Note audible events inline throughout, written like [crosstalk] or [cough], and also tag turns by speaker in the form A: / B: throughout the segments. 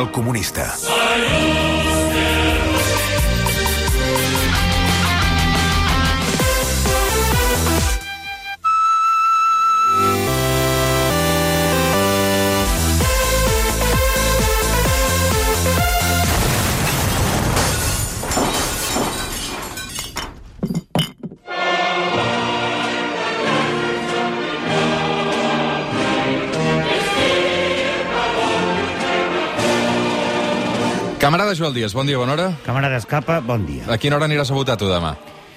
A: El comunista.
B: Camarada Joel Díaz, bon dia, bona hora.
C: Camarada Escapa, bon dia.
B: A quina hora aniràs a votar tu demà?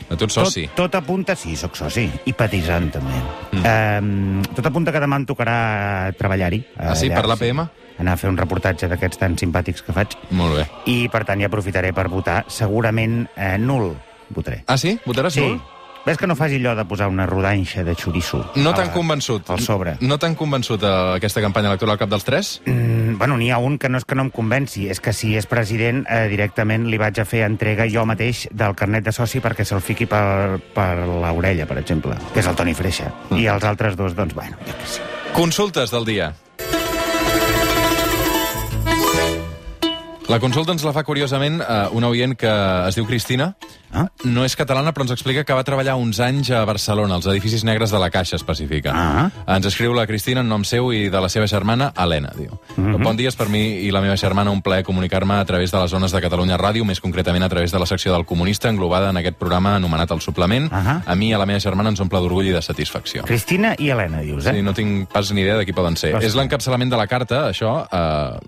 B: No, tu ets soci.
C: Tot, tot apunta, sí, sóc soci, i patisant també. Mm. Um, tot apunta que demà em tocarà treballar-hi.
B: Ah, sí?
C: allà,
B: Per l'APM?
C: sí. Anar a fer un reportatge d'aquests tan simpàtics que faig.
B: Molt bé.
C: I, per tant, ja aprofitaré per votar. Segurament eh, nul votaré.
B: Ah, sí? Votaràs nul?
C: Ves que no faci allò de posar una rodanxa de xoriço.
B: No
C: a
B: t'han
C: la-
B: convençut.
C: Al sobre.
B: No t'han convençut eh, aquesta campanya electoral cap dels tres?
C: Mm, bueno, n'hi ha un que no és que no em convenci, és que si és president, eh, directament li vaig a fer entrega jo mateix del carnet de soci perquè se'l fiqui per, per l'orella, per exemple, que és el Toni Freixa. Mm. I els altres dos, doncs, bueno, ja que sí.
B: Consultes del dia. La consulta ens la fa, curiosament, eh, un oient que es diu Cristina.
C: Ah?
B: No és catalana, però ens explica que va treballar uns anys a Barcelona, als edificis negres de la Caixa, especifica.
C: Ah.
B: Ens escriu la Cristina en nom seu i de la seva germana, Helena, diu.
C: Mhm.
B: Bon dia, és per mi i la meva germana un plaer comunicar-me a través de les zones de Catalunya Ràdio, més concretament a través de la secció del Comunista, englobada en aquest programa anomenat El Suplement.
C: Ahà.
B: A mi i a la meva germana ens omple d'orgull i de satisfacció.
C: Cristina i Helena, dius, eh?
B: Sí, no tinc pas ni idea de qui poden ser.
C: Ostres.
B: És l'encapçalament de la carta, això... Eh,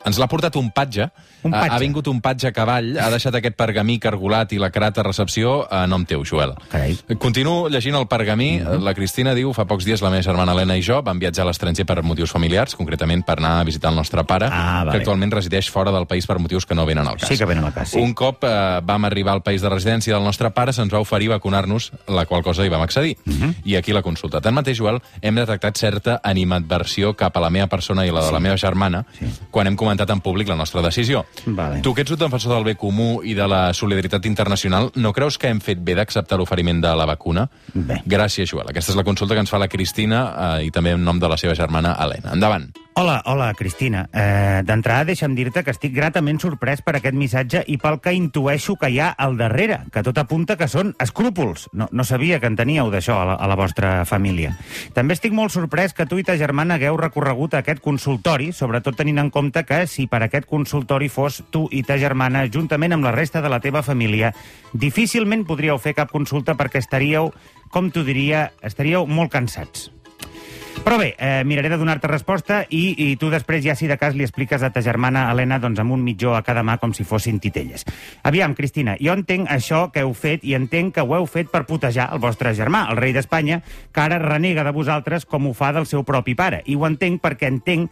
B: ens l'ha portat un patge. Eh,
C: Un patge.
B: Ha, ha vingut un patge a cavall, ha deixat aquest pergamí cargolat i la crata recepció a nom teu, Joel.
C: Carai.
B: Continuo llegint el pergamí.
C: Mhm.
B: La Cristina diu, fa pocs dies la meva germana Helena i jo vam viatjar a l'estranger per motius familiars, concretament per anar a visitar el nostre pare,
C: Ah, vale.
B: que actualment resideix fora del país per motius que no venen al cas.
C: Sí que venen al cas, sí.
B: Un cop eh, vam arribar al país de residència del nostre pare, se'ns va oferir vacunar-nos, la qual cosa hi vam accedir.
C: Mhm.
B: I aquí la consulta. Tanmateix, Joel, hem detectat certa animadversió cap a la meva persona i la de la meva germana quan hem comentat en públic la nostra decisió.
C: Vale.
B: Tu, que ets un defensor del bé comú i de la solidaritat internacional, no creus que hem fet bé d'acceptar l'oferiment de la vacuna?
C: Bé.
B: Gràcies, Joel. Aquesta és la consulta que ens fa la Cristina eh, i també en nom de la seva germana Helena. Endavant.
C: Hola, hola, Cristina. Eh, D'entrada, deixa'm dir-te que estic gratament sorprès per aquest missatge i pel que intueixo que hi ha al darrere, que tot apunta que són escrúpols. No, no sabia que en teníeu d'això a, la- a la vostra família. També estic molt sorprès que tu i ta germana hagueu recorregut a aquest consultori, sobretot tenint en compte que si per aquest consultori fos tu i ta germana, juntament amb la resta de la teva família, difícilment podríeu fer cap consulta perquè estaríeu, com t'ho diria, estaríeu molt cansats. Però bé, eh, miraré de donar-te resposta i, i tu després ja, si de cas, li expliques a ta germana Helena doncs, amb un mitjó a cada mà com si fossin titelles. Aviam, Cristina, jo entenc això que heu fet i entenc que ho heu fet per putejar el vostre germà, el rei d'Espanya, que ara renega de vosaltres com ho fa del seu propi pare. I ho entenc perquè entenc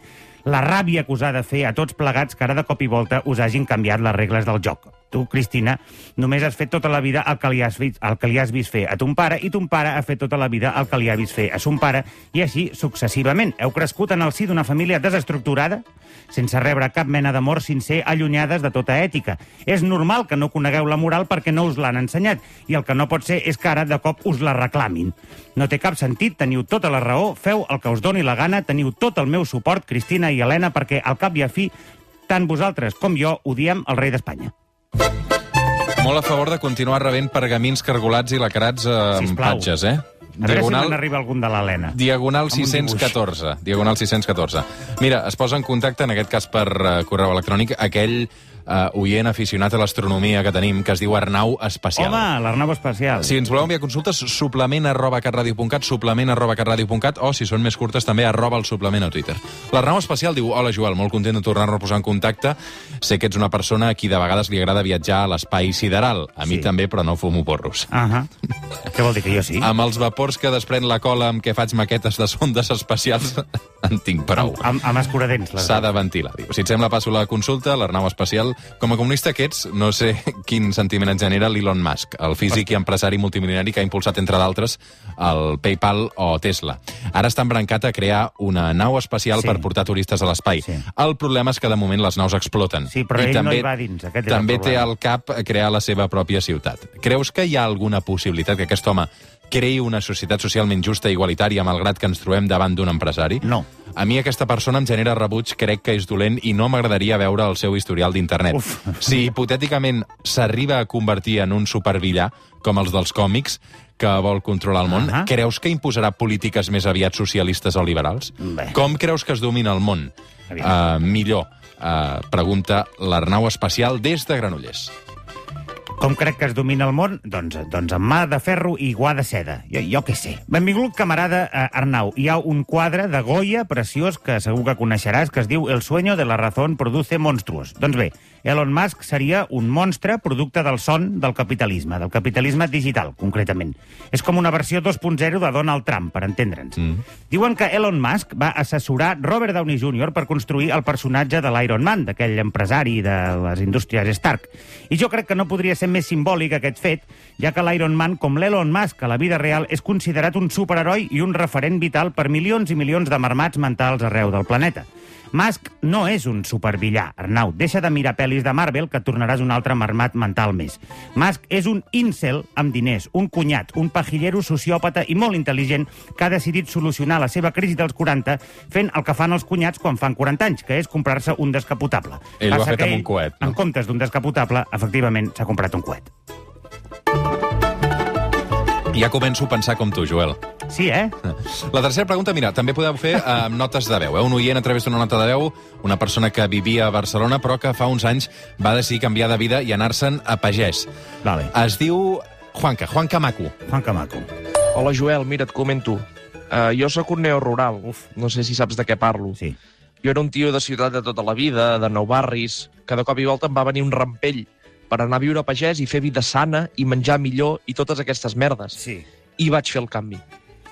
C: la ràbia que us ha de fer a tots plegats que ara de cop i volta us hagin canviat les regles del joc. Tu, Cristina, només has fet tota la vida el que li has, vist, el que li has vist fer a ton pare i ton pare ha fet tota la vida el que li ha vist fer a son pare i així successivament. Heu crescut en el si d'una família desestructurada, sense rebre cap mena d'amor sincer, allunyades de tota ètica. És normal que no conegueu la moral perquè no us l'han ensenyat i el que no pot ser és que ara de cop us la reclamin. No té cap sentit, teniu tota la raó, feu el que us doni la gana, teniu tot el meu suport, Cristina i Helena, perquè al cap i a fi tant vosaltres com jo odiem el rei d'Espanya.
B: Molt a favor de continuar rebent pergamins cargolats i lacrats eh, amb
C: Sisplau.
B: patges, eh?
C: A veure si me'n arriba algun de l'Helena.
B: Diagonal
C: Amb un
B: 614. Diagonal 614. Mira, es posa en contacte, en aquest cas per eh, correu electrònic, aquell eh, oient aficionat a l'astronomia que tenim, que es diu Arnau Espacial.
C: Home, l'Arnau Espacial.
B: Si ens voleu enviar consultes, suplement arroba catradio.cat, suplement arroba catradio.cat, o si són més curtes també arroba el suplement a Twitter. L'Arnau Espacial diu, hola Joel, molt content de tornar-nos a posar en contacte. Sé que ets una persona a qui de vegades li agrada viatjar a l'espai sideral. A mi
C: Sí.
B: també, però no fumo porros.
C: Ahà. Què vol dir, que jo sí?
B: Amb els vapors que desprèn la cola amb què faig maquetes de sondes espacials, [laughs] en tinc prou.
C: Amb, amb escuradents. Les...
B: S'ha de ventilar, diu. Si et sembla, passo la consulta, l'Arnau Espacial. Com a comunista que ets, no sé [laughs] quin sentiment et genera l'Elon Musk, el físic i empresari multimilionari que ha impulsat, entre d'altres, el PayPal o Tesla. Ara està embrancat a crear una nau espacial sí.
C: Sí.
B: per portar turistes a l'espai.
C: Sí.
B: Sí. El problema és que, de moment, les naus exploten.
C: Sí, però
B: I
C: ell no
B: també,
C: hi va dins, aquest és el
B: També té
C: problema.
B: al cap crear la seva pròpia ciutat. Creus que hi ha alguna possibilitat que aquest home creï una societat socialment justa i igualitària malgrat que ens trobem davant d'un empresari?
C: No.
B: A mi aquesta persona em genera rebuig, crec que és dolent i no m'agradaria veure el seu historial d'internet.
C: Uf.
B: [laughs] Si hipotèticament s'arriba a convertir en un supervillà, com els dels còmics, que vol controlar el món, uh
C: Ahà.
B: -huh. creus que imposarà polítiques més aviat socialistes o liberals?
C: Bé.
B: Com creus que es domina el món? Uh,
C: Aviam.
B: millor, uh, pregunta l'Arnau Espacial des de Granollers.
C: Com crec que es domina el món? Doncs, doncs amb mà de ferro i guà de seda. Jo, jo què sé. Benvingut, camarada eh, Arnau. Hi ha un quadre de Goya preciós que segur que coneixeràs que es diu El sueño de la razón produce monstruos. Doncs bé, Elon Musk seria un monstre producte del son del capitalisme, del capitalisme digital, concretament. És com una versió 2.0 de Donald Trump, per entendre'ns. Mm. Diuen que Elon Musk va assessorar Robert Downey Jr. per construir el personatge de l'Iron Man, d'aquell empresari de les indústries Stark. I jo crec que no podria ser més simbòlic aquest fet, ja que l'Iron Man, com l'Elon Musk a la vida real, és considerat un superheroi i un referent vital per milions i milions de marmats mentals arreu del planeta. Musk no és un supervillà, Arnau. Deixa de mirar pel·lis de Marvel, que tornaràs un altre marmat mental més. Musk és un incel amb diners, un cunyat, un pajillero sociòpata i molt intel·ligent que ha decidit solucionar la seva crisi dels 40 fent el que fan els cunyats quan fan 40 anys, que és comprar-se un descapotable.
B: Ell ho ha
C: Passa
B: fet
C: que
B: amb un
C: ell,
B: coet, no?
C: En comptes d'un descapotable, efectivament, s'ha comprat un coet.
B: Ja començo a pensar com tu, Joel.
C: Sí, eh?
B: La tercera pregunta, mira, també podeu fer eh, amb notes de veu. Eh? Un oient a través d'una nota de veu, una persona que vivia a Barcelona però que fa uns anys va decidir canviar de vida i anar-se'n a pagès.
C: Vale.
B: Es diu Juanca, Juanca Maco.
C: Juan Camaco.
A: Hola, Joel, mira, et comento. Uh, jo sóc un neorural, Uf. no sé si saps de què parlo.
C: Sí.
A: Jo era un tio de ciutat de tota la vida, de nou barris, que de cop i volta em va venir un rampell per anar a viure a pagès i fer vida sana i menjar millor i totes aquestes merdes.
C: Sí.
A: I vaig fer el canvi.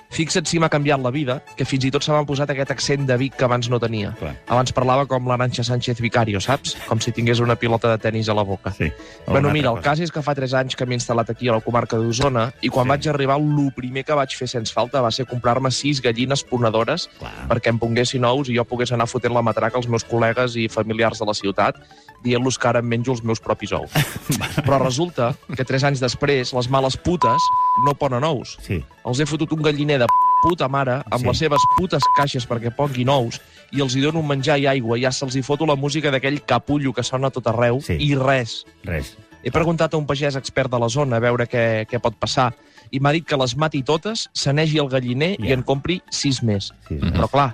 A: Fixa't si m'ha canviat la vida, que fins i tot se m'ha posat aquest accent de Vic que abans no tenia.
C: Clar.
A: Abans parlava com l'Aranxa Sánchez Vicario, saps? Com si tingués una pilota de tennis a la boca.
C: sí.
A: Bueno, mira, el cas és que fa 3 anys que m'he instal·lat aquí a la comarca d'Osona i
C: Sí.
A: quan sí. vaig arribar, el primer que vaig fer sense falta va ser comprar-me 6 gallines ponedores
C: Clar.
A: perquè em ponguessin ous i jo pogués anar fotent la matraca als meus col·legues i familiars de la ciutat dient-los que ara em menjo els meus propis
C: [laughs]
A: ous. Però resulta que 3 anys després les males putes no ponen ous.
C: Sí.
A: Els he fotut un galliner de puta mare amb
C: Sí.
A: sí. les seves putes caixes perquè ponguin ous i els hi dono un menjar i aigua i ja se'ls hi foto la música d'aquell capullo que sona a tot arreu
C: Sí.
A: sí. i res.
C: Res.
A: He preguntat a un pagès expert de la zona a veure què, què pot passar i m'ha dit que les mati totes, se n'egi el galliner
C: Ja.
A: i en compri sis més.
C: Sí.
B: Mhm.
A: Però clar,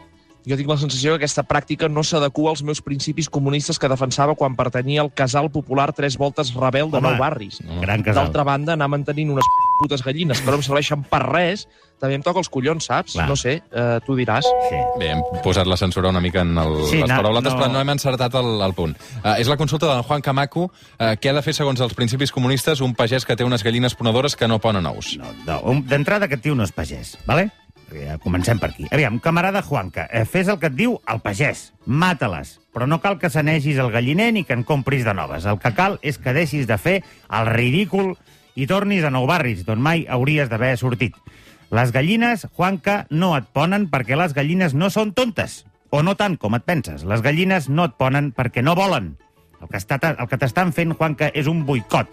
A: jo tinc la sensació que aquesta pràctica no s'adequa als meus principis comunistes que defensava quan pertanyia al casal popular tres voltes rebel de
C: Home.
A: nou barris.
C: Gran casal.
A: D'altra banda, anar mantenint unes [laughs] putes gallines que no em serveixen per res, també em toca els collons, saps?
C: Clar.
A: No sé, eh, tu diràs.
C: Sí.
B: Bé, hem posat la censura una mica en el,
C: Sí,
B: les
C: no,
B: paraules,
C: no.
B: però no hem encertat el, el punt. Uh, és la consulta del Juan Camaco. Uh, què ha de fer, segons els principis comunistes, un pagès que té unes gallines ponedores que no ponen ous?
C: No, no. un- D'entrada, aquest tio no és pagès, vale? Eh, Ja comencem per aquí. Aviam, camarada Juanca, eh, fes el que et diu el pagès. Mata-les, però no cal que sanegis el galliner ni que en compris de noves. El que cal és que deixis de fer el ridícul i tornis a nou barris, d'on mai hauries d'haver sortit. Les gallines, Juanca, no et ponen perquè les gallines no són tontes. O no tant com et penses. Les gallines no et ponen perquè no volen. El que, està, el que t'estan fent, Juanca, és un boicot,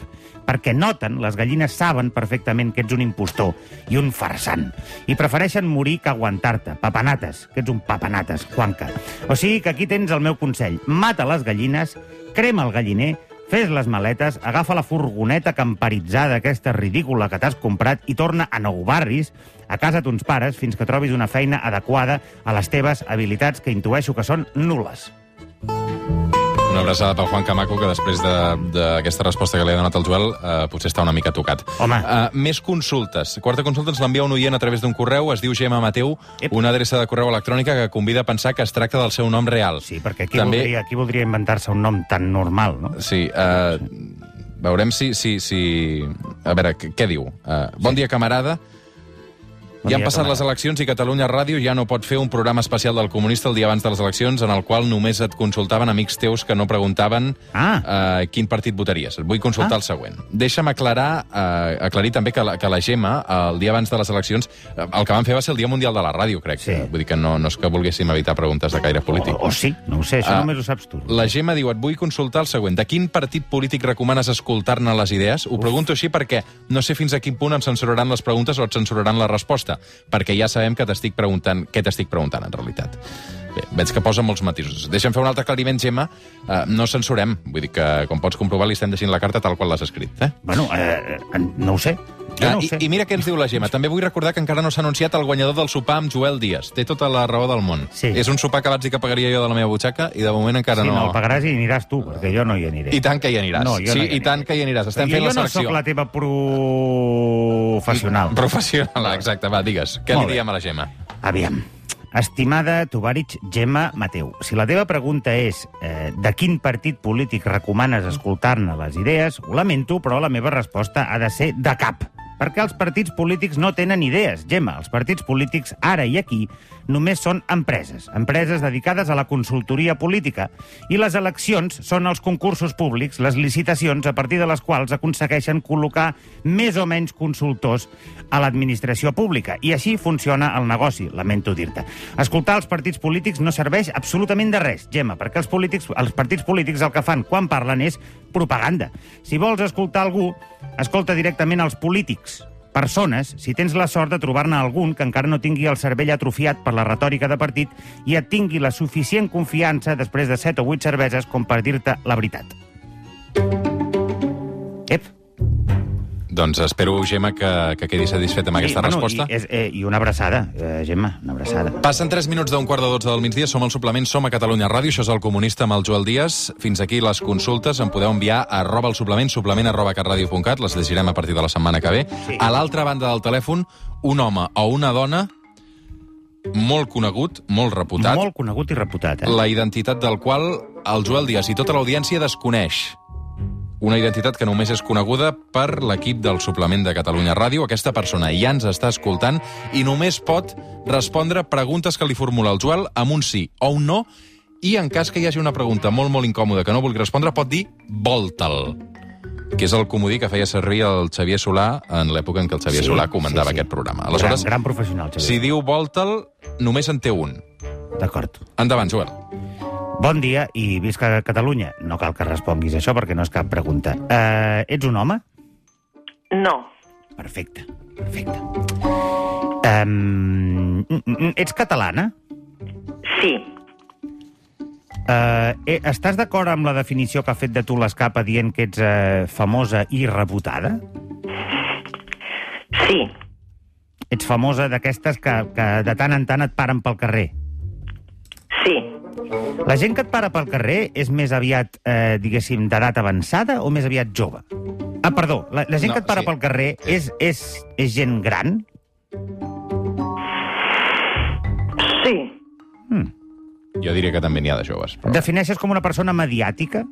C: perquè noten, les gallines saben perfectament que ets un impostor i un farsant, i prefereixen morir que aguantar-te. Papanates, que ets un papanates, Juanca. O sigui que aquí tens el meu consell. Mata les gallines, crema el galliner, fes les maletes, agafa la furgoneta camperitzada aquesta ridícula que t'has comprat i torna a Nou Barris, a casa d'uns pares, fins que trobis una feina adequada a les teves habilitats, que intueixo que són nules.
B: Una abraçada pel Juan Camaco, que després de- d'aquesta de, resposta que li ha donat el Joel, eh, potser està una mica tocat.
C: Home.
B: Eh, més consultes. Quarta consulta ens l'envia un oient a través d'un correu, es diu Gemma Mateu,
C: Ep.
B: una adreça de correu electrònica que convida a pensar que es tracta del seu nom real.
C: Sí, perquè qui
B: També-
C: També... voldria, qui voldria inventar-se un nom tan normal, no?
B: Sí, eh, veurem si, si, si... A veure, què, què diu? Eh, bon dia, camarada. Ja han
C: dia,
B: passat
C: Tomàs.
B: les eleccions i Catalunya Ràdio ja no pot fer un programa especial del comunista el dia abans de les eleccions en el qual només et consultaven amics teus que no preguntaven
C: Ah.
B: eh, quin partit votaries. Et vull consultar
C: Ah.
B: el següent. Deixa'm aclarar, eh, aclarir també que la, que la Gemma, el dia abans de les eleccions, eh, el que van fer va ser el Dia Mundial de la Ràdio, crec.
C: Sí.
B: Vull dir que no, no és que volguéssim evitar preguntes de caire polític.
C: O, o sí, no ho sé, això
B: Ah.
C: només ho saps tu.
B: La Gemma diu, et vull consultar el següent. De quin partit polític recomanes escoltar-ne les idees? Ho pregunto així perquè no sé fins a quin punt em censuraran les preguntes o et censuraran la resposta, perquè ja sabem que t'estic preguntant què t'estic preguntant, en realitat. Bé, veig que posa molts matisos. Deixa'm fer un altre aclariment, Gemma. Uh, no censurem. Vull dir que, com pots comprovar, li estem deixant la carta tal qual l'has escrit. Eh?
C: Bueno, eh, eh, no ho sé. Jo
B: Ah,
C: no ho
B: i,
C: sé.
B: I mira què ens diu la Gemma. També vull recordar que encara no s'ha anunciat el guanyador del sopar amb Joel Díaz. Té tota la raó del món.
C: Sí.
B: És un sopar que vaig dir que pagaria jo de la meva butxaca i de moment encara
C: sí, no, el pagaràs i hi aniràs tu, perquè jo no hi aniré.
B: I tant que hi aniràs.
C: No, jo
B: sí,
C: no hi
B: i
C: aniré.
B: tant que hi aniràs. Estem
C: jo,
B: fent la
C: jo no
B: selecció.
C: sóc la teva professional.
B: Professional, exacte. Va, digues. Què
C: Molt
B: li
C: bé.
B: diem a la Gemma?
C: Aviam. Estimada Tovarich Gemma Mateu, si la teva pregunta és eh, de quin partit polític recomanes escoltar-ne les idees, ho lamento, però la meva resposta ha de ser de cap. Perquè els partits polítics no tenen idees, Gemma. Els partits polítics, ara i aquí, només són empreses. Empreses dedicades a la consultoria política. I les eleccions són els concursos públics, les licitacions a partir de les quals aconsegueixen col·locar més o menys consultors a l'administració pública. I així funciona el negoci, lamento dir-te. Escoltar els partits polítics no serveix absolutament de res, Gemma, perquè els, polítics, els partits polítics el que fan quan parlen és propaganda. Si vols escoltar algú, escolta directament els polítics, persones, si tens la sort de trobar-ne algun que encara no tingui el cervell atrofiat per la retòrica de partit i et tingui la suficient confiança després de 7 o 8 cerveses com per dir-te la veritat. Ep.
B: Doncs espero, Gemma, que, que quedi satisfet amb aquesta resposta.
C: I, és, eh, I una abraçada, eh, Gemma, una abraçada.
B: Passen 3 minuts d'un quart de 12 del migdia, som al suplement, som a Catalunya Ràdio, això és el comunista amb el Joel Díaz. Fins aquí les consultes em podeu enviar a arroba el suplement, suplement arroba catradio.cat, les llegirem a partir de la setmana que ve.
C: Sí.
B: A l'altra banda del telèfon, un home o una dona molt conegut, molt reputat,
C: Molt conegut i reputat, eh?
B: la identitat del qual el Joel Díaz i tota l'audiència desconeix. Una identitat que només és coneguda per l'equip del suplement de Catalunya Ràdio. Aquesta persona ja ens està escoltant i només pot respondre preguntes que li formula el Joel amb un sí o un no i en cas que hi hagi una pregunta molt, molt incòmoda que no vulgui respondre, pot dir volta'l, que és el comodí que feia servir el Xavier Solà en l'època en què el Xavier
C: Sí,
B: Solà comandava
C: sí, sí.
B: aquest programa.
C: Gran,
B: Aleshores,
C: gran professional,
B: si
C: Xavier.
B: diu volta'l, només en té un.
C: Sí. D'acord.
B: Endavant, Joel.
C: Bon dia i visca Catalunya. No cal que responguis això perquè no és cap pregunta. Eh, ets un home?
D: No,
C: Perfecte, perfecte. Um, ets catalana?
D: sí,
C: Uh, estàs d'acord amb la definició que ha fet de tu l'escapa dient que ets uh, famosa i rebutada?
D: sí,
C: Ets famosa d'aquestes que, que de tant en tant et paren pel carrer.
D: sí.
C: La gent que et para pel carrer és més aviat, eh, diguéssim, d'edat avançada o més aviat jove? Ah, perdó, la, la gent
B: No,
C: que et para
B: sí.
C: pel carrer és, és, és gent gran?
D: Sí,
B: Jo diria que també n'hi ha de joves. Però...
C: Defineixes com una persona mediàtica?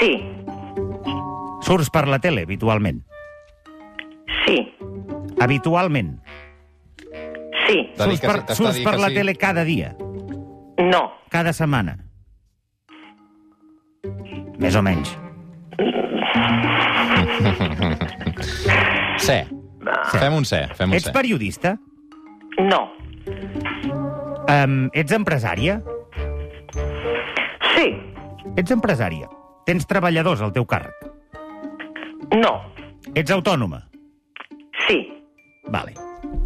D: sí,
C: Surts per la tele, habitualment.
D: sí,
C: Habitualment.
D: sí,
B: T'ha dit
C: Surts
B: que
C: per,
B: sí, t'està
C: surts
B: dient
C: per
B: que
C: la
B: sí.
C: tele cada dia,
D: no,
C: cada setmana. Més o menys.
B: C. Fem un C, fem un
C: Ets
B: C.
C: periodista?
D: no,
C: Um, ets empresària?
D: sí,
C: Ets empresària. Tens treballadors al teu càrrec.
D: no,
C: Ets autònoma?
D: sí,
C: Vale.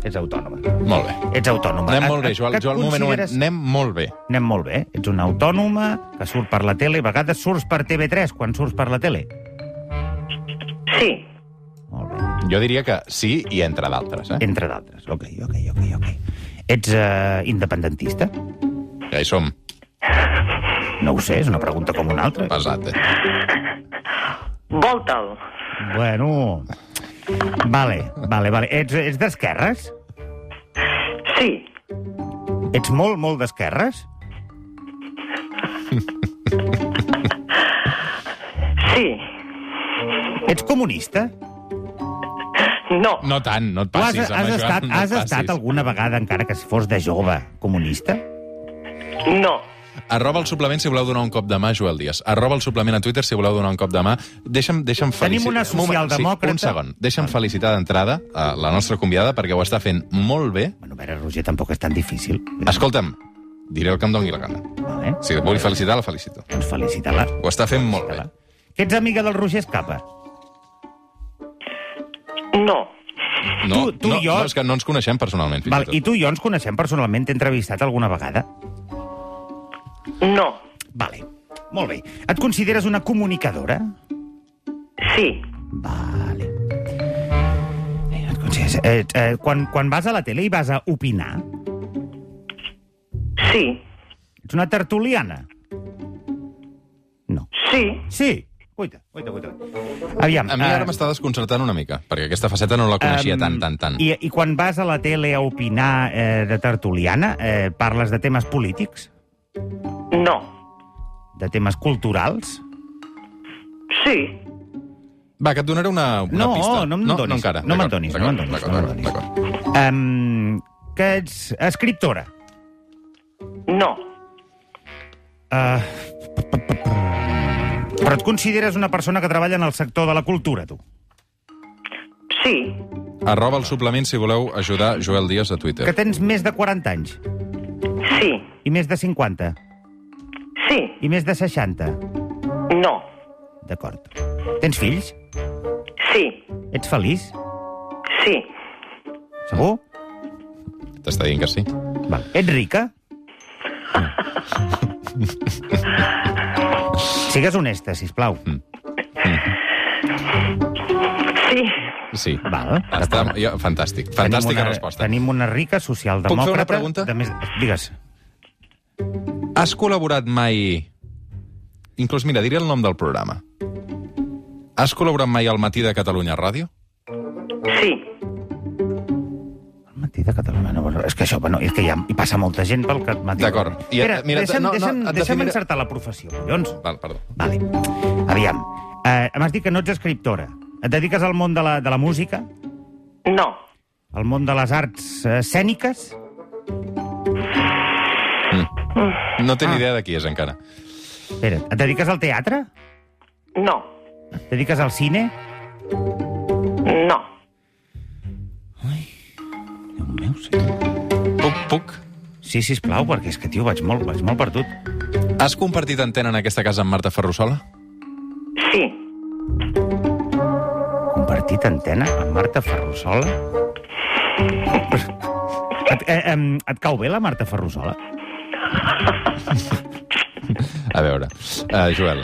C: Ets autònoma.
B: Molt bé.
C: Ets autònoma.
B: Anem
C: Et-
B: molt bé,
C: et-
B: Joel.
C: que et
B: Joel, un moment, un moment.
C: consideres-
B: Anem molt bé.
C: Anem molt bé. Ets una autònoma que surt per la tele. A vegades surts per TV3 quan surts per la tele.
D: sí,
C: Molt bé.
B: Jo diria que sí i entre d'altres, eh?
C: Entre d'altres. Ok, ok, ok, ok. Ets uh, independentista?
B: Ja hi som.
C: No ho sé, és una pregunta com una altra.
B: Pesat, eh?
D: volta'l,
C: Bueno... Vale, vale, vale. Ets, ets d'esquerres?
D: sí,
C: Ets molt, molt d'esquerres?
D: sí,
C: Ets comunista?
D: no,
B: No tant, no et
C: Tu has,
B: passis amb
C: has,
B: això.
C: estat,
B: no et
C: has estat
B: passis.
C: alguna vegada, encara que fos de jove, comunista?
D: no.
B: Arroba el suplement si voleu donar un cop de mà, Joel Díaz. Arroba el suplement a Twitter si voleu donar un cop de mà. Deixa'm, deixa'm
C: Tenim
B: felicitar...
C: una socialdemòcrata.
B: Sí, un segon. Deixa'm felicitar d'entrada a la nostra convidada perquè ho està fent molt bé.
C: Bueno, a veure, Roger, tampoc és tan difícil.
B: Escolta'm, diré el que em doni la gana.
C: Vale.
B: Si la vull felicitar, la felicito.
C: Doncs felicita-la.
B: Ho està fent molt bé.
C: Que ets amiga del Roger Escapa?
D: No,
B: No,
C: Tu- tu
B: no,
C: i jo-
B: no, és que no ens coneixem personalment, fins
C: Val, I
B: i tot.
C: tu i jo ens coneixem personalment, t'he entrevistat alguna vegada?
D: no,
C: Vale, molt bé. Et consideres una comunicadora?
D: sí,
C: Vale. Eh, et consideres... Eh, eh, quan, quan vas a la tele i vas a opinar,
D: sí,
C: ets una tertuliana? No.
D: sí,
C: Sí. Guaita, guaita, guaita. Aviam.
B: A mi
C: eh,
B: ara m'està desconcertant una mica, perquè aquesta faceta no la coneixia
C: Em,
B: tant, tant, tant.
C: I, I quan vas a la tele a opinar eh, de tertuliana, eh, parles de temes polítics?
D: no,
C: De temes culturals?
D: sí,
B: Va, que et donaré una, una
C: No,
B: pista.
C: no em donis.
B: No encara.
C: No me'n
B: D'acord,
C: donis, no
B: d'acord,
C: me'n donis,
B: d'acord,
C: no me'n
B: d'acord.
C: Um, que ets escriptora.
D: no,
C: Uh, però et consideres una persona que treballa en el sector de la cultura, tu?
D: sí,
B: Arroba el suplement si voleu ajudar Joel Díaz a Twitter.
C: Que tens més de 40 anys,
D: sí,
C: i més de 50,
D: sí,
C: i més de 60.
D: no,
C: D'acord. Tens fills?
D: sí,
C: Ets feliç?
D: sí,
C: Segur?
B: T'està dient que sí.
C: Val. Ets rica? [laughs] Sigues honesta, si plau.
B: Mm.
D: sí,
B: Sí.
C: Val.
B: Està, jo, fantàstic. Fantàstica
C: una,
B: resposta.
C: Tenim una rica socialdemòcrata...
B: Puc fer una pregunta?
C: De més... Digues.
B: Has col·laborat mai... Inclús, mira, diré el nom del programa. Has col·laborat mai al Matí de Catalunya Ràdio?
D: sí,
C: El matí de Catalunya. No, bueno, és que això, bueno, és que hi, ha, hi passa molta gent pel que- matí.
B: D'acord. I,
C: Espera,
B: eh, mira,
C: deixa'm,
B: no, no,
C: no, deixa'm,
B: et
C: deixa'm
B: definiré-
C: encertar la professió, collons.
B: Val, perdó.
C: Vale. Aviam. Eh, M'has dit que no ets escriptora. Et dediques al món de la, de la música,
D: no,
C: al món de les arts eh, escèniques?
B: No té
C: Ah.
B: ni idea de qui és, encara.
C: Espera, et dediques al teatre?
D: no,
C: Et dediques al cine?
D: no,
C: Déu meu, senyor.
B: Puc, puc.
C: Sí, sisplau, perquè és que, tio, vaig molt, vaig molt perdut.
B: Has compartit antena en aquesta casa amb Marta Ferrusola?
D: sí,
C: Compartit antena amb Marta Ferrusola? Et, eh, eh, et cau bé la Marta Ferrusola?
B: A veure, uh, Joel.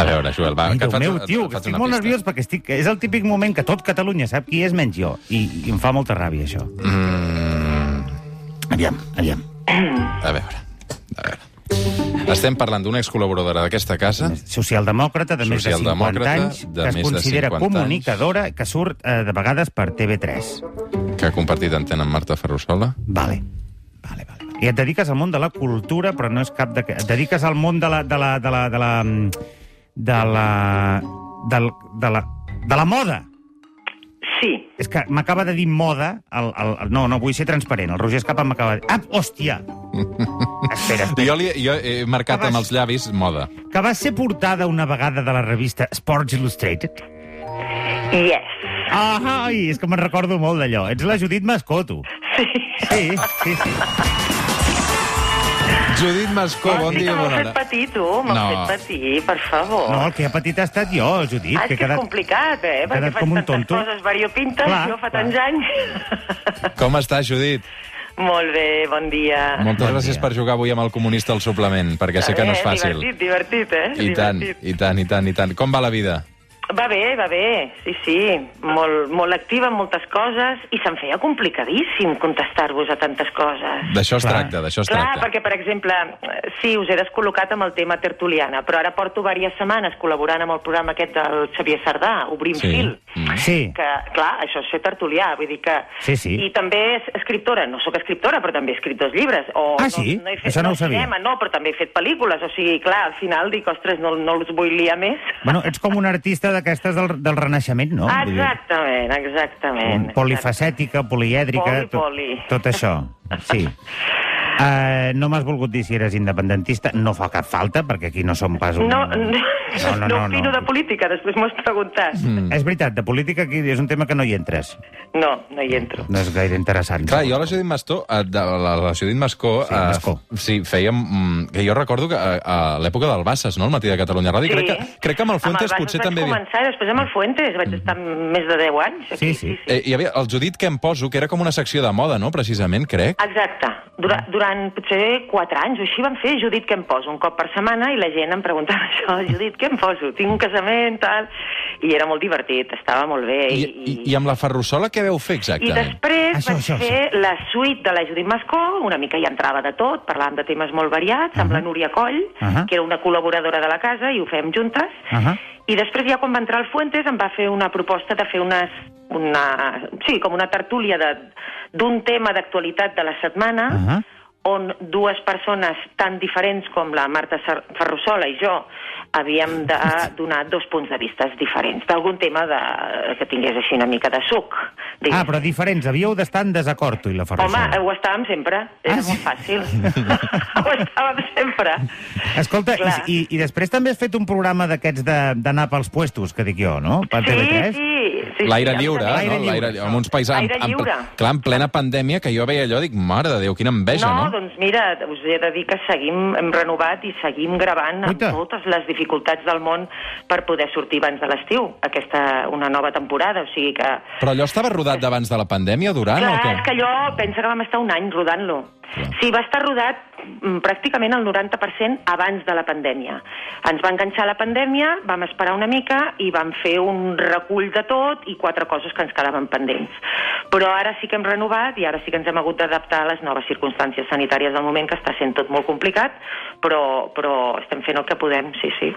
B: A veure, Joel, va.
C: Ai,
B: que et
C: Déu
B: faig-
C: meu,
B: et-
C: tio,
B: et
C: que
B: faig
C: estic
B: una
C: molt
B: pista.
C: nerviós perquè estic, és el típic moment que tot Catalunya sap qui és menys jo. I, i em fa molta ràbia, això.
B: Mm.
C: Aviam, aviam.
B: A veure, a veure. Estem parlant d'una excol·laboradora d'aquesta casa.
C: Socialdemòcrata de més de 50
B: Socialdemòcrata
C: anys,
B: de
C: que es
B: més de
C: considera
B: 50
C: comunicadora, que surt eh, de vegades per TV3.
B: que ha compartit antena amb Marta Ferrusola.
C: Vale. Vale, vale. I et dediques al món de la cultura, però no és cap de... Et dediques al món de la... de la... de la... de la... mm, de la... de la, de la, de la moda.
D: sí,
C: És que m'acaba de dir moda... El, el, el, no, no, vull ser transparent. El Roger Escapa m'acaba de dir... Ah, hòstia!
B: [laughs]
C: espera, espera.
B: Jo, li, jo he marcat amb els llavis moda.
C: Que va ser portada una vegada de la revista Sports Illustrated.
D: yes, [laughs]
C: Ah, ai, és que me'n recordo molt d'allò. Ets la Judit Mascoto. Sí. Sí, sí, sí.
B: Judit Mascó, bon
D: sí que
B: dia,
D: m'has
B: bona
D: fet
B: hora.
D: patir, tu, m'has
B: No.
D: fet patir, per favor.
C: No, el que ha patit ha estat jo, Judit.
D: Ah, és que, és complicat, eh? Perquè
C: quedat
D: faig
C: com un
D: tantes
C: tonto.
D: coses variopintes,
C: Clar,
D: jo fa
C: clar.
D: tants anys.
B: Com està, Judit?
D: [laughs] Molt bé, bon dia.
B: Moltes
C: Bon
B: gràcies
C: dia.
B: per jugar avui amb el comunista al suplement, perquè sé que no és
D: Eh,
B: fàcil.
D: Divertit, divertit, eh?
B: I tant,
D: Divertit.
B: i tant, i tant, i tant. Com va la vida?
D: Va bé, va bé, sí, sí. Molt, molt activa en moltes coses i se'm feia complicadíssim contestar-vos a tantes coses.
B: D'això es
C: Clar.
B: tracta, d'això es
D: Clar,
B: tracta.
D: perquè, per exemple, eh, sí, us he descol·locat amb el tema tertuliana, però ara porto diverses setmanes col·laborant amb el programa aquest del Xavier Sardà, Obrim
B: Sí. Mm.
D: sí. Fil.
C: Sí,
D: que, clar, això és ser tertulià, vull dir que...
C: Sí, sí.
D: I també és escriptora, no sóc escriptora, però també he escrit dos llibres. O
C: Ah,
D: no,
C: sí?
D: No he fet,
C: Això no ho sabia.
D: Cinema, no, però també he fet pel·lícules, o sigui, clar, al final dic, ostres, no, no els vull liar més.
C: bueno, ets com un artista d'aquestes del, del Renaixement, no? Vull dir,
D: exactament, exactament.
C: Un polifacètica, polièdrica...
D: Poli, poli.
C: Tot, tot això,
D: [laughs]
C: sí. Uh, no m'has volgut dir si eres independentista. No fa cap falta, perquè aquí no som pas un...
D: No, no, no, no, no, opino de política, després m'ho has preguntat. Mm.
C: És veritat, de política aquí és un tema que no hi entres.
D: No, no hi entro.
C: No és gaire interessant.
B: Clar, jo a la Judit Mascó, eh, de, la, la Judit Mascó,
C: Sí,
B: eh,
C: Mascó.
B: sí fèiem... mm, que jo recordo que a, a l'època del Bassas, no?, al matí de Catalunya Ràdio, crec, que, crec que amb el Fuentes
D: Bassas
B: potser
D: vaig
B: també... hi havia- Mm.
D: començar i després amb el Fuentes vaig estar més de 10 anys.
C: Sí,
D: Aquí,
C: sí.
B: Eh, hi havia el Judit que em poso, que era com una secció de moda, no?, precisament, crec.
D: Exacte. Durant,
B: Mm.
D: durant potser 4 anys o així van fer Judit què em poso, un cop per setmana, i la gent em preguntava [laughs] això, Judit què em poso, tinc un casament, tal... I era molt divertit, estava molt bé.
B: I, i, I amb la ferrussola què veu fer
D: I
B: exactament?
D: després
C: Això, això,
D: això, vaig això, fer la suite de la Judit Mascó, una mica hi entrava de tot, parlàvem de temes molt variats, amb la Núria Coll,
C: Ahà.
D: que era una col·laboradora de la casa, i ho fèiem juntes.
C: Ahà.
D: I després ja quan va entrar el Fuentes em va fer una proposta de fer unes, una, sí, com una tertúlia de- d'un tema d'actualitat de la setmana,
C: Ahà.
D: on dues persones tan diferents com la Marta Ser- Ferrusola i jo havíem de donar dos punts de vistes diferents d'algun tema de, que tingués així una mica de suc.
C: Ah,
D: diguéssim.
C: però diferents. Havíeu d'estar en desacord, tu i la
D: Home,
C: Ferrusola.
D: ho estàvem sempre. Era
C: Ah,
D: ah,
C: sí?
D: sí? molt fàcil. [laughs] ho estàvem sempre.
C: Escolta, i,
D: Clar.
C: i, i després també has fet un programa d'aquests de- d'anar pels puestos, que dic jo, no? Per TV3?
D: Sí, sí. sí
B: L'aire
D: sí,
B: lliure, eh,
D: exactament.
C: L'aire
B: no?
C: lliure.
B: L'aire lliure. Amb uns paisans...
D: Aire lliure.
B: En, clar, en plena pandèmia, que jo veia allò, dic, mare de Déu, quina enveja,
D: no,
B: no?
D: doncs mira, us he de dir que seguim, hem renovat i seguim gravant amb
C: Guaita.
D: totes les dificultats del món per poder sortir abans de l'estiu, aquesta una nova temporada, o sigui que...
B: Però allò estava rodat d'abans de la pandèmia, durant,
D: Clar,
B: o què?
D: és que allò, pensa que vam estar un any rodant-lo.
B: Clar.
D: Sí, va estar rodat mm, pràcticament el 90% abans de la pandèmia. Ens va enganxar la pandèmia, vam esperar una mica i vam fer un recull de tot i quatre coses que ens quedaven pendents. Però ara sí que hem renovat i ara sí que ens hem hagut d'adaptar a les noves circumstàncies sanitàries del moment, que està sent tot molt complicat, però, però estem fent el que podem, sí, sí.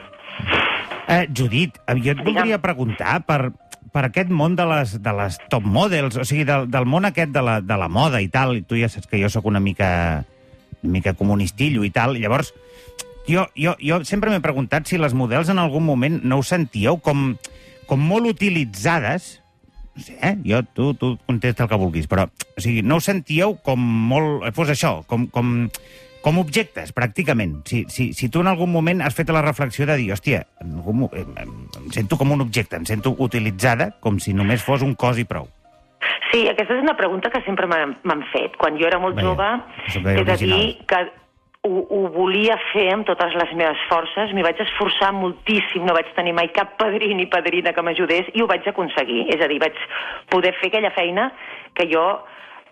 C: Eh, Judit, eh, jo et
D: Digue'm.
C: voldria preguntar per, per aquest món de les, de les top models, o sigui, del, del món aquest de la, de la moda i tal, i tu ja saps que jo sóc una mica, una mica comunistillo i tal, llavors, jo, jo, jo sempre m'he preguntat si les models en algun moment no us sentíeu com, com molt utilitzades, no sé, eh? jo, tu, tu contesta el que vulguis, però, o sigui, no us sentíeu com molt, eh, fos això, com, com, com objectes, pràcticament. Si, si, si tu en algun moment has fet la reflexió de dir, hòstia, en algun, mo- em, em, em sento com un objecte, em sento utilitzada com si només fos un cos i prou.
D: Sí, aquesta és una pregunta que sempre m'han m'han fet. Quan jo era molt
C: Vaja,
D: jove,
C: és un
D: he
C: gaire
D: de
C: original.
D: dir que ho, ho volia fer amb totes les meves forces, m'hi vaig esforçar moltíssim, no vaig tenir mai cap padrí ni padrina que m'ajudés, i ho vaig aconseguir. És a dir, vaig poder fer aquella feina que jo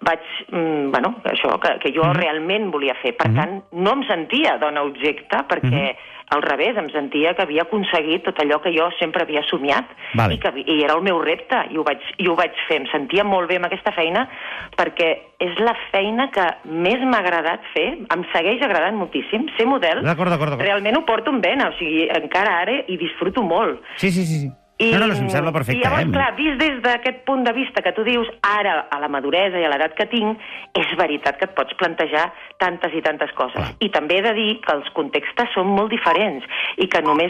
D: vaig, mm, bueno, això, que, que
C: Mhm.
D: jo realment volia fer. Per tant, no em sentia dona objecte, perquè
C: Mhm.
D: al revés, em sentia que havia aconseguit tot allò que jo sempre havia somiat
C: Vale.
D: i que i era el meu repte i ho, vaig, i ho vaig fer. Em sentia molt bé amb aquesta feina perquè és la feina que més m'ha agradat fer, em segueix agradant moltíssim, ser model.
C: D'acord, d'acord, d'acord.
D: Realment ho porto en vena, o sigui, encara ara hi disfruto molt.
C: Sí, sí, sí. sí. I, no, no, no, em sembla perfecte,
D: I llavors,
C: eh?
D: clar, vist des d'aquest punt de vista que tu dius, ara, a la maduresa i a l'edat que tinc, és veritat que et pots plantejar tantes i tantes coses.
C: Clar.
D: I també he de dir que els contextes són molt diferents i que només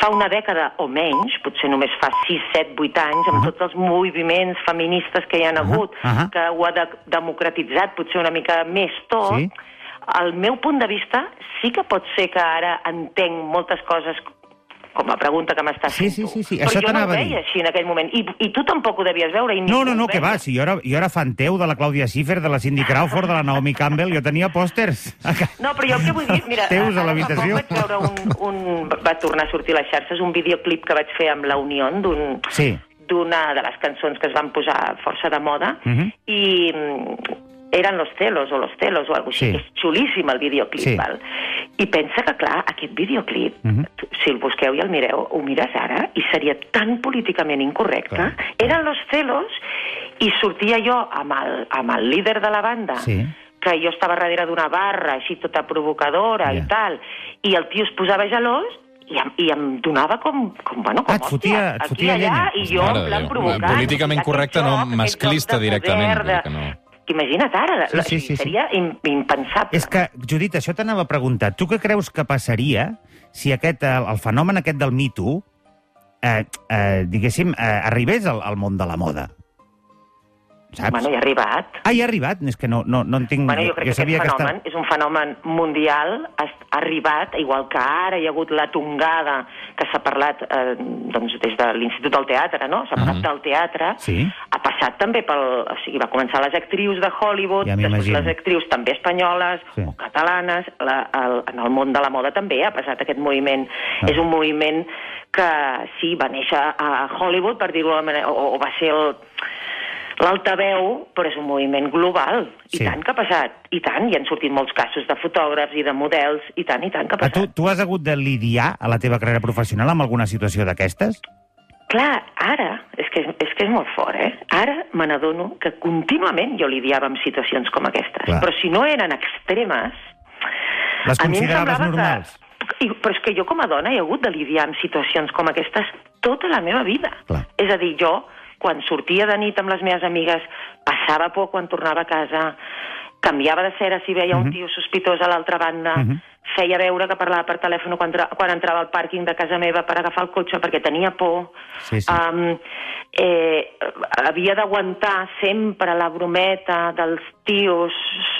D: fa una dècada o menys, potser només fa 6, 7, 8 anys,
C: Uh-huh.
D: amb tots els moviments feministes que hi ha hagut,
C: ahà.
D: que ho ha de democratitzat potser una mica més tot,
C: Sí.
D: al meu punt de vista, sí que pot ser que ara entenc moltes coses com a pregunta que m'estàs
C: Sí,
D: fent
C: sí,
D: tu.
C: sí, sí,
D: Però
C: això
D: jo no ho
C: t'anava a dir.
D: veia així en aquell moment. I, I tu tampoc ho devies veure. I
C: No,
D: ningú
C: no,
D: ho
C: no, que
D: veia.
C: va, si jo era, jo era fan teu de la Clàudia Schiffer, de la Cindy Crawford, de la Naomi Campbell, jo tenia pòsters. a ca-
D: No, però jo el que vull
C: [laughs]
D: dir... Mira,
C: Teus a
D: ara fa
C: l'habitació.
D: poc Vaig veure un, un... Va tornar a sortir a les xarxes un videoclip que vaig fer amb la Unió d'un
C: Sí.
D: d'una de les cançons que es van posar força de moda
C: Mhm.
D: i mm, eren Los Celos o Los Celos o alguna cosa
C: Sí.
D: així. És xulíssim el videoclip,
C: Sí.
D: val? I pensa que, clar, aquest videoclip,
C: Mhm.
D: tu- si el busqueu i el mireu, ho mires ara i seria tan políticament incorrecte.
C: Clar.
D: Eren Los Celos i sortia jo amb el, amb el líder de la banda
C: Sí.
D: que jo estava darrere d'una barra així tota provocadora
C: Ja.
D: i tal, i el tio es posava gelós i em, i em donava com, com bueno, com
C: Ah, et fotia-
D: hòstia,
C: et fotia
D: aquí,
C: llenya.
D: allà, I jo,
B: Mare
D: en
B: de
D: plan,
B: Déu.
D: provocant.
B: Políticament
D: aquest
B: correcte, no,
D: joc, aquest joc
B: masclista
D: de
B: directament,
D: poder,
B: vull dir
D: de-
B: que no.
D: que Imagina't ara, la, la,
C: Sí, sí, sí, sí.
D: seria im- impensable.
C: És que, Judit, això t'anava a preguntar. Tu què creus que passaria si aquest, el, el fenomen aquest del Me Too, eh, eh, diguéssim, eh, arribés al, al món de la moda? Saps?
D: Bueno, hi ha arribat.
C: Ah, ja ha arribat? És que no, no, no en tinc...
D: Bueno, jo crec que aquest
C: està-
D: fenomen és un fenomen mundial, ha ha arribat, igual que ara hi ha hagut la tongada que s'ha parlat eh, doncs, des de l'Institut del Teatre, no? S'ha parlat del teatre,
C: Sí.
D: ha passat també pel... O sigui, va començar les actrius de Hollywood,
C: Ja
D: després
C: m'imagino.
D: les actrius també espanyoles
C: Sí.
D: sí. o catalanes, la, el, en el món de la moda també ha passat aquest moviment.
C: Ah.
D: És un moviment que sí, va néixer a Hollywood, per dir-ho d'alguna manera, o, o va ser el l'altaveu, però és un moviment global.
C: Sí.
D: I tant que ha passat. I tant, hi han sortit molts casos de fotògrafs i de models, i tant, i tant que ha
C: Ah,
D: passat.
C: tu, tu has hagut de lidiar a la teva carrera professional amb alguna situació d'aquestes?
D: Clar, ara, és que és, que és molt fort, eh? Ara me n'adono que contínuament jo lidiava amb situacions com aquestes.
C: Clar.
D: Però si no eren extremes...
C: Les
D: a mi em
C: consideraves
D: semblava
C: normals?
D: Que... I, però és que jo com a dona he hagut de lidiar amb situacions com aquestes tota la meva vida.
C: Clar.
D: És a dir, jo, quan sortia de nit amb les meves amigues, passava por quan tornava a casa, canviava de cera si veia un tio sospitós a l'altra banda,
C: Mhm.
D: feia veure que parlava per telèfon quan, tra- quan entrava al pàrquing de casa meva per agafar el cotxe perquè tenia por.
C: Sí, sí.
D: Um, eh, havia d'aguantar sempre la brometa dels tios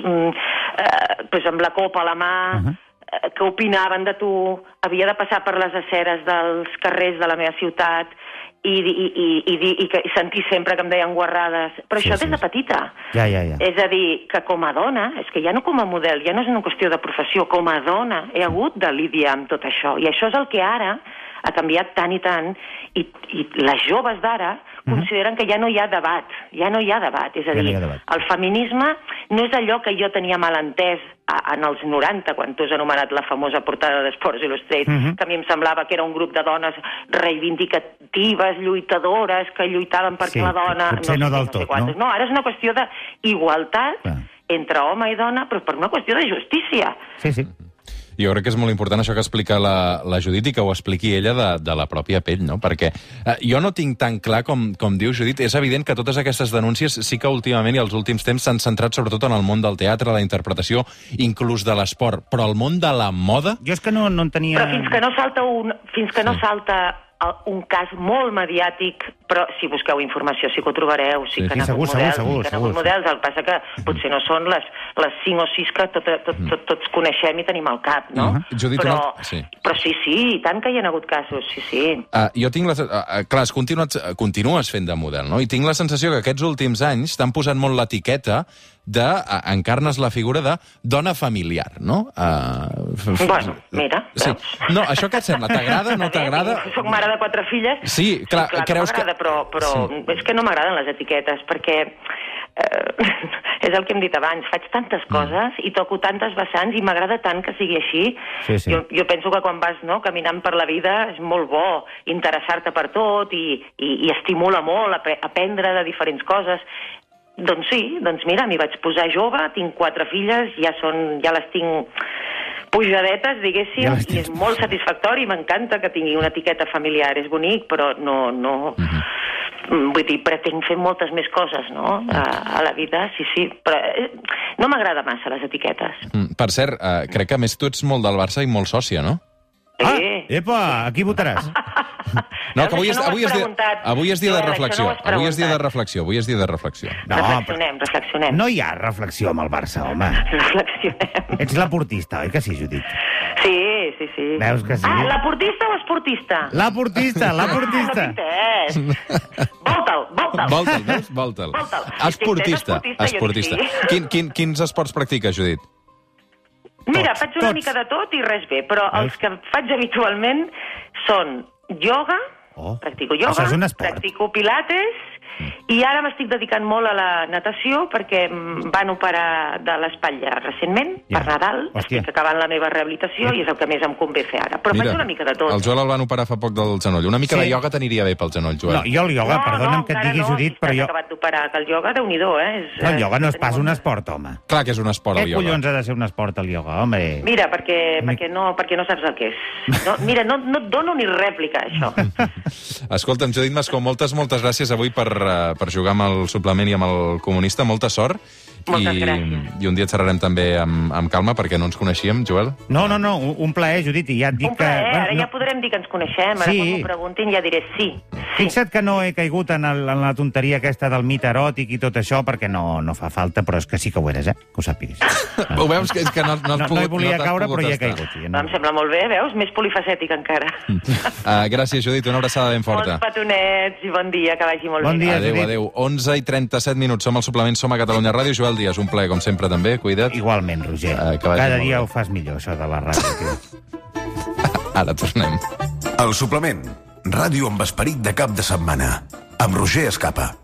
D: mm, eh, pues amb la copa a la mà,
C: Ahà.
D: eh, que opinaven de tu, havia de passar per les aceres dels carrers de la meva ciutat i, i, i, i, dir- i, que, i sentir sempre que em deien guarrades. Però
C: Sí,
D: això
C: sí,
D: des de
C: sí.
D: petita.
C: Ja, ja, ja.
D: És a dir, que com a dona, és que ja no com a model, ja no és una qüestió de professió, com a dona he hagut de lidiar amb tot això. I això és el que ara ha canviat tant i tant, i, i les joves d'ara consideren que ja no hi ha debat, ja no hi ha debat. És a
C: Mhm. Ja no
D: dir,
C: hi ha debat.
D: el feminisme no és allò que jo tenia mal entès a, en els 90, quan tu has anomenat la famosa portada d'Esports Illustrated,
C: Mhm.
D: que a mi em semblava que era un grup de dones reivindicatives, lluitadores, que lluitaven perquè
C: Sí,
D: la dona...
C: potser no
D: sé,
C: del
D: sé
C: tot,
D: quantos.
C: no?
D: No, ara és una qüestió d'igualtat
C: Clar.
D: entre home i dona, però per una qüestió de justícia.
C: Sí, sí.
B: Jo crec que és molt important això que explica la, la Judit i que ho expliqui ella de, de la pròpia pell, no? Perquè eh, jo no tinc tan clar com, com diu Judit. És evident que totes aquestes denúncies sí que últimament i els últims temps s'han centrat sobretot en el món del teatre, la interpretació, inclús de l'esport. Però el món de la moda...
C: Jo és que no, no en tenia...
D: Però fins que no salta un, fins que no
B: Sí.
D: salta el- un cas molt mediàtic, però si busqueu informació sí que ho trobareu, sí,
B: Sí,
D: que
B: sí,
D: han
C: segur,
D: hagut
C: segur,
D: models,
C: segur,
D: sí que han
C: segur,
D: hagut models, el que passa que potser no són les, les 5 o 6 que tot, tot, tot, tots coneixem i tenim al cap, no?
B: Mhm. Judit,
D: però,
B: una- sí.
D: però sí, sí, i tant que hi ha hagut casos, sí, sí.
B: Uh, jo tinc la... Uh, uh, clar, has continuat, uh, continues fent de model, no? I tinc la sensació que aquests últims anys t'han posat molt l'etiqueta de... Uh, encarnes la figura de dona familiar, no? Uh,
D: Bueno, mira,
B: Sí.
D: veus.
B: No, això què et sembla? T'agrada, no
D: [laughs] Està bé,
B: t'agrada?
D: Soc mare de quatre filles.
B: Sí, clar,
D: sí, clar
B: creus que-
D: que... m'agrada, Però, però
B: Sí.
D: sí. és que no m'agraden les etiquetes, perquè eh, [laughs] és el que hem dit abans, faig tantes
B: Mm.
D: coses i toco tantes vessants i m'agrada tant que sigui així.
C: Sí, sí.
D: Jo, jo penso que quan vas no, caminant per la vida és molt bo interessar-te per tot i, i, i estimula molt apre aprendre de diferents coses. Doncs sí, doncs mira, m'hi vaig posar jove, tinc quatre filles, ja, són, ja les tinc pujadetes, diguéssim,
C: Ja les
D: i és
C: tens.
D: molt satisfactori, m'encanta que tingui una etiqueta familiar, és bonic, però no... no...
C: Mhm.
D: Mm, Vull dir, pretenc fer moltes més coses, no?, a, a la vida, sí, sí, però eh, no m'agrada massa les etiquetes.
B: Mm, Per cert, uh, crec que a més tu ets molt del Barça i molt sòcia, no?
C: Ah,
D: Eh.
C: epa, aquí
D: [laughs]
C: votaràs.
B: No,
D: Veus, això no ho has
B: avui, és dia,
D: preguntat.
B: avui és dia de
D: Joel, això no ho
B: reflexió.
D: has
B: avui és dia de
D: preguntat.
B: reflexió, avui és dia de reflexió.
C: No,
D: reflexionem, reflexionem.
C: [laughs] No hi ha reflexió amb el Barça, home.
D: Reflexionem.
C: Ets la portista, oi que sí, Judit?
D: Sí, sí, sí.
C: Veus que sí?
D: Ah, la portista o esportista?
C: La portista, la portista.
D: Ah, no t'entès. Volta'l, volta'l.
B: Volta'l, veus? Volta'l.
D: Volta'l.
B: Esportista,
D: Sí, sí, és esportista,
B: esportista.
D: jo dic sí.
B: Quin, quin, quins esports practiques, Judit?
D: Mira,
C: Tots,
D: faig una
C: tots.
D: mica de tot i res bé, però
C: Veus?
D: els que faig habitualment són ioga,
C: Oh,
D: practico ioga,
C: això és un esport.
D: practico pilates I ara m'estic dedicant molt a la natació perquè em van operar de l'espatlla recentment,
C: Ja.
D: per Nadal.
C: Hòstia.
D: Estic acabant la meva rehabilitació i és el que més em convé fer ara. Però faig una mica de tot.
B: El Joel el van operar fa poc del genoll. Una mica sí.
C: Sí.
B: de ioga t'aniria bé pel genoll, Joel.
C: No, jo el ioga, perdona'm que et
D: encara
C: digui, Judit,
D: si
C: però
D: t'has
C: jo...
D: acabat d'operar, que el ioga, déu nhi eh? És,
C: No, el
D: eh,
C: ioga no és
D: tenim
C: pas
D: un-
C: un esport, home.
B: Clar que és un esport,
C: Què
B: el ioga.
C: Eh, collons ha de ser un esport, el ioga, home?
D: Mira, perquè, perquè, no, perquè no saps el que és. No,
C: [laughs]
D: mira, no, no et dono ni rèplica, això.
B: Escolta'm, Judit Mascó, moltes, moltes gràcies avui per, eh, per jugar amb el suplement i amb el comunista. Molta sort.
D: Moltes
B: I,
D: gràcies.
B: I un dia et xerrarem també amb, amb calma, perquè no ens coneixíem, Joel.
C: No, no, no, un un plaer, Judit, i ja et dic
D: Un plaer,
C: que...
D: ara
C: no,
D: ja podrem dir que ens coneixem, ara
C: Sí.
D: quan m'ho preguntin ja diré sí, sí.
C: Fixa't que no he caigut en, el, en la tonteria aquesta del mite eròtic i tot això, perquè no, no fa falta, però és que sí que ho eres, eh? Que ho sàpigues.
B: Ho veus? Que és que no, no, has
C: Ah. No, no
B: pogut,
C: hi volia
B: t'has
C: caure,
B: pogut
C: però hi he
B: estar.
C: caigut. Ja
D: No,
C: no.
D: em sembla molt bé, veus? Més polifacètic encara.
B: Uh, gràcies, Judit. Una abraçada ben forta.
D: Molts petonets i bon dia, que vagi molt
C: Bon
D: bé.
C: dia,
B: Adéu,
C: Judit.
B: adéu. 11 i 37 minuts. Som al suplement, som a Catalunya Ràdio. Joel Díaz, un plaer, com sempre, també. Cuida't.
C: Igualment, Roger.
B: Eh, que vagi
C: Cada
B: molt
C: dia
B: bé.
C: ho fas millor, això de la ràdio. tio.
B: Ara tornem.
E: El suplement. Ràdio amb esperit de cap de setmana. Amb Roger Escapa.